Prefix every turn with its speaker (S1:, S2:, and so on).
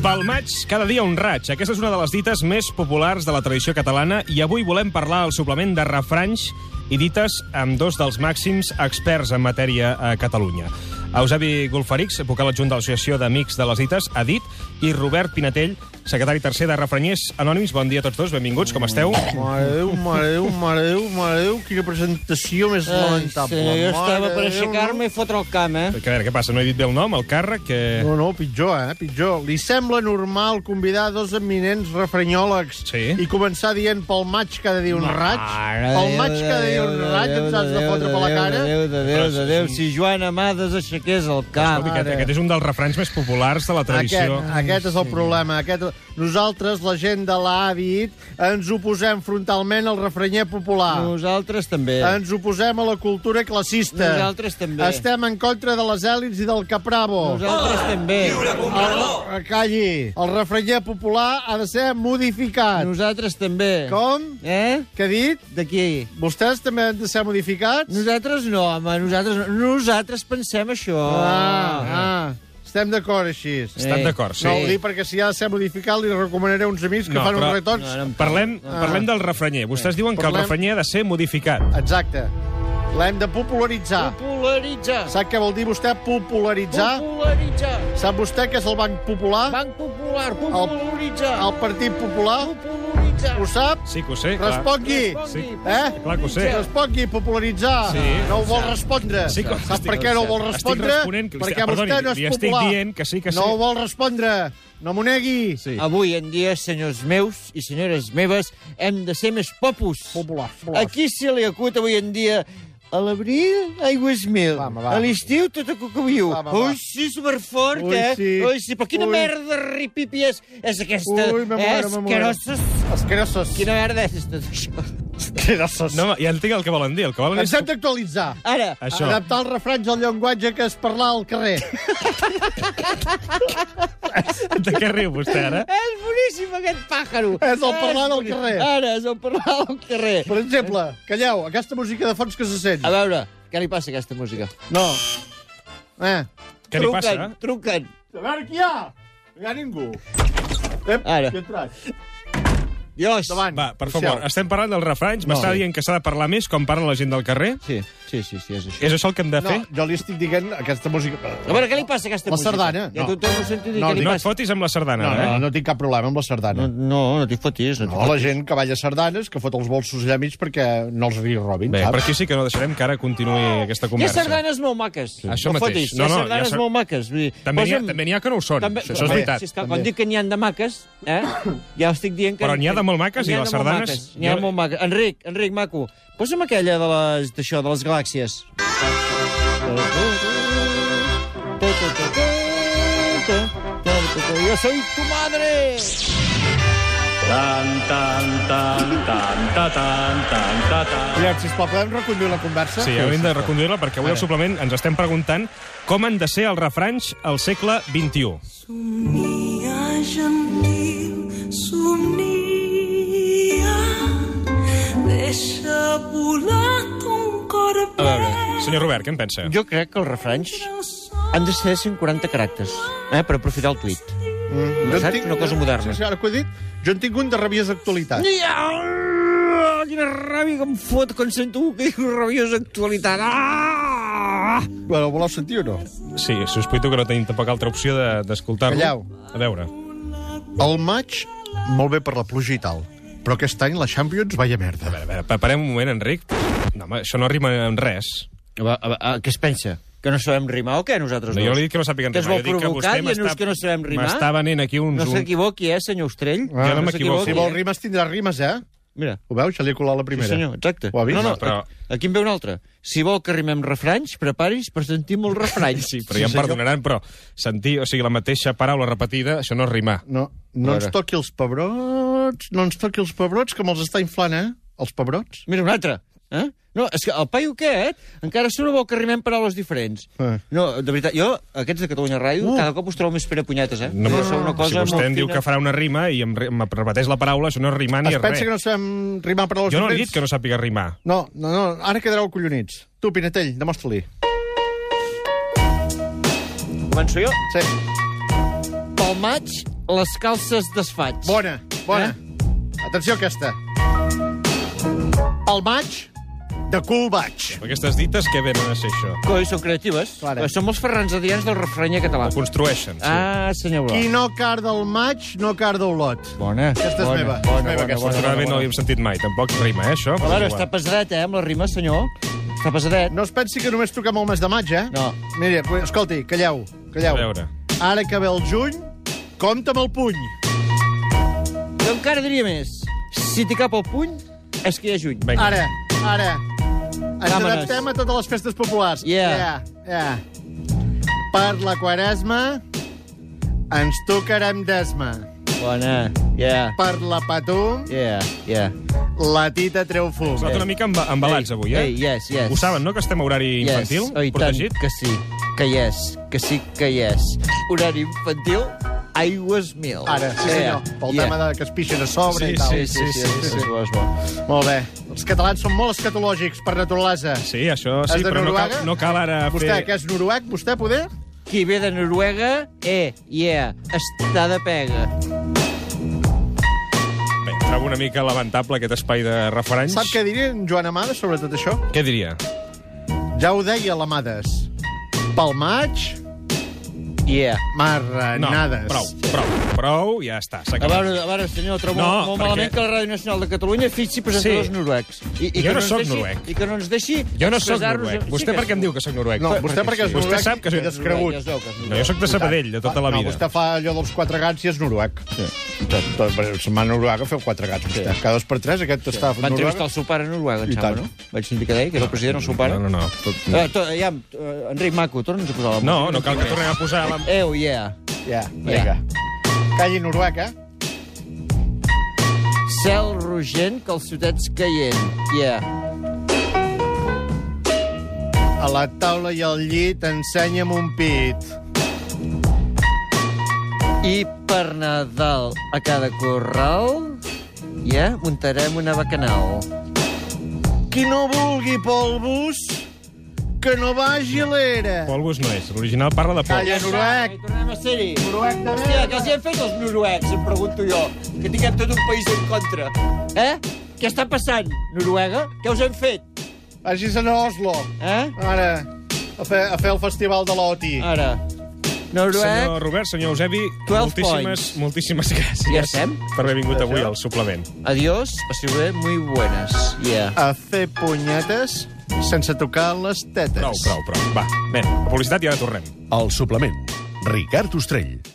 S1: Pel maig, cada dia un raig. Aquesta és una de les dites més populars de la tradició catalana i avui volem parlar al suplement de refranys i dites amb dos dels màxims experts en matèria a Catalunya. Eusebi Golferix, vocal adjunt de l'Associació d'Amics de les Dites, ha dit, i Robert Pinatell, secretari tercer de Refranyers Anònims. Bon dia a tots dos, benvinguts, com esteu?
S2: Mare Déu, mare Déu, mare Déu, mare Déu, quina presentació més
S3: Ai,
S2: lamentable.
S3: senyor, jo estava
S2: Mare
S3: per
S2: Déu,
S3: aixecar-me i fotre el camp, eh?
S1: Que, a veure, què passa? No he dit bé el nom, el càrrec? Que...
S2: No, no, pitjor, eh? Pitjor. Li sembla normal convidar dos eminents refranyòlegs
S1: Sí.
S2: i començar dient pel maig cada dia un raig?
S3: Mare
S2: Pel
S3: de
S2: maig
S3: Déu,
S2: cada
S3: de
S2: dia
S3: Déu,
S2: un
S3: de
S2: raig
S3: Déu,
S2: ens has de
S3: Déu,
S2: fotre per la
S3: Déu,
S2: cara?
S3: De Déu, de Déu,
S1: Però
S3: de
S1: és
S3: Déu,
S1: un-
S3: si Joan Amades aixequés el camp, eh,
S1: Escolti, aquest,
S3: ara.
S1: aquest és un dels refranys més populars de la
S2: Aquest,
S1: tradició.
S2: aquest és el problema. Aquest... Nosaltres, la gent de l'Àbit, ens oposem frontalment al refranyer popular.
S3: Nosaltres també.
S2: Ens oposem a la cultura classista.
S3: Nosaltres també.
S2: Estem en contra de les èlits i del capravo.
S3: Nosaltres també.
S2: El, eh, calli. El refranyer popular ha de ser modificat.
S3: Nosaltres també.
S2: Com?
S3: Eh?
S2: Què ha dit?
S3: D'aquí.
S2: Vostès també han de ser modificats?
S3: Nosaltres no, home, nosaltres no. Nosaltres pensem això.
S2: Ah, ah. Estem d'acord així.
S3: Eh.
S1: Estan d'acord, sí.
S2: No, ho dic perquè si ha de ser modificat li recomanaré a uns amics que
S1: No,
S2: fan
S1: però-
S2: uns retocs.
S3: No, no em-
S1: Parlem, parlem del refranyer. Vostès diuen que el
S2: Ah. Parlem-
S1: refranyer ha de ser modificat.
S2: Exacte. L'hem de popularitzar.
S3: Popularitzar.
S2: Sap què vol dir vostè popularitzar?
S3: Popularitzar.
S2: Sap vostè que és el Banc Popular?
S3: Banc Popular, popularitzar.
S2: El Partit Popular?
S3: Popularitzar.
S2: Ho sap?
S1: Sí que ho sé, clar.
S2: Respongui.
S3: Respongui,
S1: Sí.
S2: Eh?
S1: Clar que ho sé.
S2: Respongui, popularitzar.
S1: Sí.
S2: No ho vol respondre.
S1: Sí que-
S2: Sap per què no ho vol
S1: Estic
S2: respondre?
S1: responent que li-
S2: Perquè
S1: perdoni,
S2: vostè no
S1: li
S2: és
S1: estic
S2: popular.
S1: dient que sí, que sí.
S2: No ho vol respondre. No m'ho negui.
S1: Sí.
S3: Avui en dia, senyors meus i senyores meves, hem de ser més popus.
S2: Popular.
S3: A qui se li acut avui en dia a l'abril, aigua és mil.
S2: Va, home, va.
S3: A l'estiu, tot a cucaviu.
S2: Va, home, va.
S3: Ui, sí, superfort,
S2: Ui,
S3: eh?
S2: sí.
S3: Ui, sí, però quina
S2: Ui.
S3: merda ripipi és, és aquesta. Eh,
S2: Ui, me muero, me muero.
S3: Esquerosos.
S2: Esquerosos.
S3: Quina merda és tot això?
S2: Esquerosos.
S1: No, home, ja entenc el que volen dir. El que volen
S2: Ens hem
S1: dir...
S2: d'actualitzar.
S3: Ara,
S1: Això.
S2: Adaptar els refranys al llenguatge que es parla al carrer.
S1: De què riu vostè, ara?
S3: és boníssim aquest pàjaro.
S2: És el parlar
S3: És
S2: del
S1: Eh,
S3: boníssim.
S2: carrer.
S3: Ara, és el parlar del carrer.
S2: Per exemple, calleu, aquesta música de fons que se sent.
S3: A veure, què li passa a aquesta música?
S2: No. Eh.
S1: Què li passa?
S3: Truquen,
S2: A veure qui hi ha. No hi ha ningú. Ep,
S3: Ara.
S2: qui ha entrat?
S3: truquen. Dios.
S2: Endavant.
S1: Va, per favor, estem parlant dels refranys. M'està
S3: No.
S1: dient que s'ha de parlar més com parla la gent del carrer?
S3: Sí, sí, sí, sí, és això.
S1: És això el que hem de
S2: No,
S1: fer?
S2: jo li estic dient aquesta música...
S3: A veure, què li passa a aquesta
S2: La
S3: música?
S2: sardana,
S3: Ja
S2: no.
S3: tothom ho sento dir,
S2: No,
S3: què li
S2: dic-
S1: No et
S3: passa?
S1: fotis amb la sardana,
S2: No, no,
S1: eh?
S2: no tinc cap problema amb la sardana.
S3: no, no t'hi fotis. No,
S2: No, la gent que balla sardanes, que fot els bolsos allà mig perquè no els li robin,
S1: Bé,
S2: saps?
S1: per aquí sí que no deixarem que ara continuï aquesta
S3: Hi ha
S1: conversa.
S3: sardanes molt maques.
S1: Això
S3: no
S1: mateix.
S3: Fotis.
S1: No,
S3: hi
S1: no,
S3: ha
S1: hi ha
S3: sardanes
S1: sar-
S3: molt maques. Vull dir,
S1: També n'hi ha,
S3: posa'm-
S1: també n'hi ha que no ho són, això és
S2: També.
S1: veritat.
S3: Si és que, quan
S2: També.
S3: dic que n'hi ha de maques, eh? ja estic dient que...
S1: Però n'hi ha de molt maques
S3: N'hi ha
S1: i les
S3: de molt
S1: sardanes-
S3: maques, N'hi ha
S1: Jo-
S3: de molt maques. Enric, Enric, maco, posa'm aquella de les, d'això, de les galàxies. Jo soy tu madre!
S4: Tan, tan, tan, tan, ta, tan, tan, ta, tan.
S2: Collons, sisplau, podem reconduir la conversa?
S1: Sí, hauríem de reconduir-la perquè avui al suplement ens estem preguntant com han de ser els refranys al segle XXI.
S5: Somnia gentil, somnia, deixa volar ton cor
S1: A veure, senyor Robert, què en pensa?
S3: Jo crec que els refranys han de ser 140 caràcters, eh, per aprofitar el tuit.
S2: Mm,
S3: saps? Una cosa moderna.
S2: Sí, sí, ara que ho he dit, jo en tinc un de rabies d'actualitat.
S3: Ah, quina ràbia que em fot quan sento que diu rabiosa actualitat. Ah!
S2: Bueno, ho voleu sentir o no?
S1: Sí, sospito que no tenim tampoc altra opció de- d'escoltar-lo.
S2: Calleu.
S1: A veure.
S2: El maig, molt bé per la pluja i tal, però aquest any la Champions vaya merda.
S1: A veure, pa- parem un moment, Enric. No, home, això no rima en res.
S3: A, va- a, va- a, què es pensa? Que no sabem rimar o què, nosaltres
S1: No,
S3: dos?
S1: jo li dic que no sàpiga en
S3: Doncs Que es
S1: rimar,
S3: vol
S1: jo dic que vostè
S3: provocar dient-nos
S1: m'està-
S3: que no sabem rimar?
S1: m'està venent aquí uns-
S3: No s'equivoqui, eh, senyor Ostrell?
S1: Ah, jo no m'equivoco.
S3: s'equivoqui,
S2: Si
S1: Sí,
S2: vol
S3: eh?
S2: rimes, tindrà rimes, eh?
S3: Mira,
S2: Ho veus? Se li ha colat la primera.
S3: sí senyor, exacte.
S2: Ho ha vist?
S3: No, no,
S1: Però-
S3: Aquí en ve un altre. Si vol que rimem refranys, preparis per sentir molts refranys.
S1: Sí, però ja em perdonaran, però sentir, o sigui, la mateixa paraula repetida, això no és rimar.
S2: No, no ens toqui els pebrots, no ens toqui els pebrots, que me'ls està inflant, eh? Els pebrots.
S3: Mira, un altre. Eh? No, és que el paio aquest encara surt vol que rimem paraules diferents.
S2: Eh.
S3: No, de veritat, jo, aquests de Catalunya Ràdio,
S2: Uh.
S3: cada cop us trobo més pere punyetes, eh?
S1: No,
S3: Jo
S1: no,
S3: sou una
S1: si vostè em
S3: molt
S1: diu
S3: fina.
S1: que farà una rima i em, ri- em repeteix la paraula, això no és rimar ni
S2: Es
S1: és res.
S2: pensa que no sabem rimar paraules
S1: Jo no he
S2: diferents?
S1: dit que no sàpiga rimar.
S2: No, no, no, ara quedareu collonits. Tu, Pinatell, demostra-li.
S3: Començo jo?
S2: Sí.
S3: Pel maig, Les calces desfaig.
S2: Bona, bona. Eh? Atenció a aquesta. El maig, de cul vaig.
S1: Aquestes dites què venen a ser això?
S3: Coi, són creatives.
S2: Clara.
S3: Som els Ferrans Adrians del refrenyer català.
S1: Ho construeixen, sí.
S3: Ah, senyor Blanc.
S2: Qui no carda el maig, no carda Olot.
S3: Bona.
S2: Aquesta és
S3: bona,
S2: meva, és
S3: Bona,
S2: meva, aquesta.
S3: bona, bona, bona,
S1: Afortunadament no
S3: bona.
S1: l'havíem sentit mai. Tampoc rima, eh, això?
S3: Claro,
S1: Però
S3: està
S1: igual.
S3: pesadet, eh, amb la rima, senyor. Està pesadet.
S2: No es pensi que només truquem el mes de maig, eh?
S3: No.
S2: Mira, pues, escolti, calleu,
S1: A
S2: calleu.
S1: veure.
S2: Ara que ve el juny, compta amb el puny.
S3: Jo encara diria més. Si t'hi cap el puny, és que hi ha juny.
S1: Vinga.
S2: Ara, ara. Ens
S3: Càmeres.
S2: adaptem a totes les festes populars.
S3: Yeah.
S2: yeah. yeah. Per la quaresma, ens tocarem desma.
S3: Bona. Yeah.
S2: Per la patum,
S3: Yeah, yeah.
S2: la tita treu fum.
S1: Us noto una mica emba- embalats avui, eh?
S3: Ei, yes, yes.
S1: Ho saben, no?, que estem a horari
S3: Yes.
S1: infantil,
S3: Oh, i tant,
S1: protegit.
S3: que sí, que yes, que sí, que yes. Horari infantil, aigües mil. Eh,
S2: Ara, sí senyor, pel tema de que es pixen a sobre
S1: Sí,
S2: i tal.
S3: Sí, sí, sí, sí, sí, sí. és bo.
S2: Molt bé. Els catalans són molt escatològics, per naturalesa.
S1: Sí, això sí,
S2: És de
S1: però no cal,
S2: Noruega?
S1: no cal ara
S2: Vostè,
S1: fer...
S2: que és noruec, vostè, poder?
S3: Qui ve de Noruega, eh, yeah, està de pega.
S1: Bé, trobo una mica lamentable aquest espai de referents.
S2: Sap què diria en Joan Amades sobre tot això?
S1: Què diria?
S2: Ja ho deia l'Amades. Pel maig,
S3: Yeah.
S1: No,
S2: marranades.
S1: prou, prou, prou, ja està, s'ha
S3: A
S1: acabat.
S3: veure, a veure, senyor, trobo
S1: No,
S3: no, molt
S1: perquè-
S3: malament que la Ràdio Nacional de Catalunya fitxi presentadors
S1: Sí.
S3: sí. noruecs. I, i
S1: Jo no
S3: ens
S1: sóc
S3: deixi,
S1: noruec.
S3: I que no ens deixi...
S1: Jo no sóc
S3: expressar-nos-
S1: noruec.
S3: Sí
S1: Vostè
S3: que
S1: per què
S3: és
S1: em diu que sóc noruec?
S2: No, vostè perquè és
S1: Vostè
S2: noruec
S1: sap que
S2: i
S1: soc
S2: des-
S3: noruec,
S2: cregut.
S3: ja es veu que és
S1: No, jo sóc de Sabadell, de tota la
S2: No,
S1: vida.
S2: vostè fa allò dels quatre gats i és noruec. Sí. Tot, tot, per setmana noruega feu quatre gats. Sí. Cada dos per tres, aquest sí. està
S3: Va
S2: fent
S3: entrevistar
S2: noruega.
S3: el seu pare a Noruega, em
S2: I
S3: sembla,
S2: tant.
S3: no? Vaig sentir que deia que era el president del seu pare.
S1: No, no, no. Tot...
S2: Ah,
S3: Eh, to, ja, eh, Enric Maco, torna'ns a posar la
S1: No,
S3: música.
S1: no cal que tornem a posar la...
S3: Eu, yeah.
S2: Ja, vinga. Calli noruec, eh?
S3: Cel rogent, calçotets caient. Yeah.
S2: A la taula i al llit ensenya'm un pit.
S3: I per Nadal, a cada corral, ja, muntarem una bacanal.
S2: Qui no vulgui pel bus, que no vagi a l'era.
S1: Polvos no és. L'original parla de
S2: Calla,
S1: polvos.
S2: noruec.
S3: I tornem a ser-hi.
S2: Noruec de
S3: Hòstia,
S2: merda.
S3: què els hi han fet els noruecs, em pregunto jo? Que tinguem tot un país en contra. Eh? Què està passant, Noruega? Què us han fet?
S2: Vagis a Oslo.
S3: Eh?
S2: Ara, a fer, a fer el festival de l'OTI.
S3: Ara. Noruec...
S1: Senyor Robert, senyor Eusebi,
S3: 12
S1: moltíssimes,
S3: points.
S1: moltíssimes gràcies
S3: Ja estem?
S1: per haver vingut avui al suplement.
S3: Adiós, passiu bé, muy buenas. Yeah.
S2: A fer punyetes sense tocar les tetes.
S1: Prou, prou, prou. Va, anem. A publicitat i ara tornem.
S6: El suplement. Ricard Ostrell,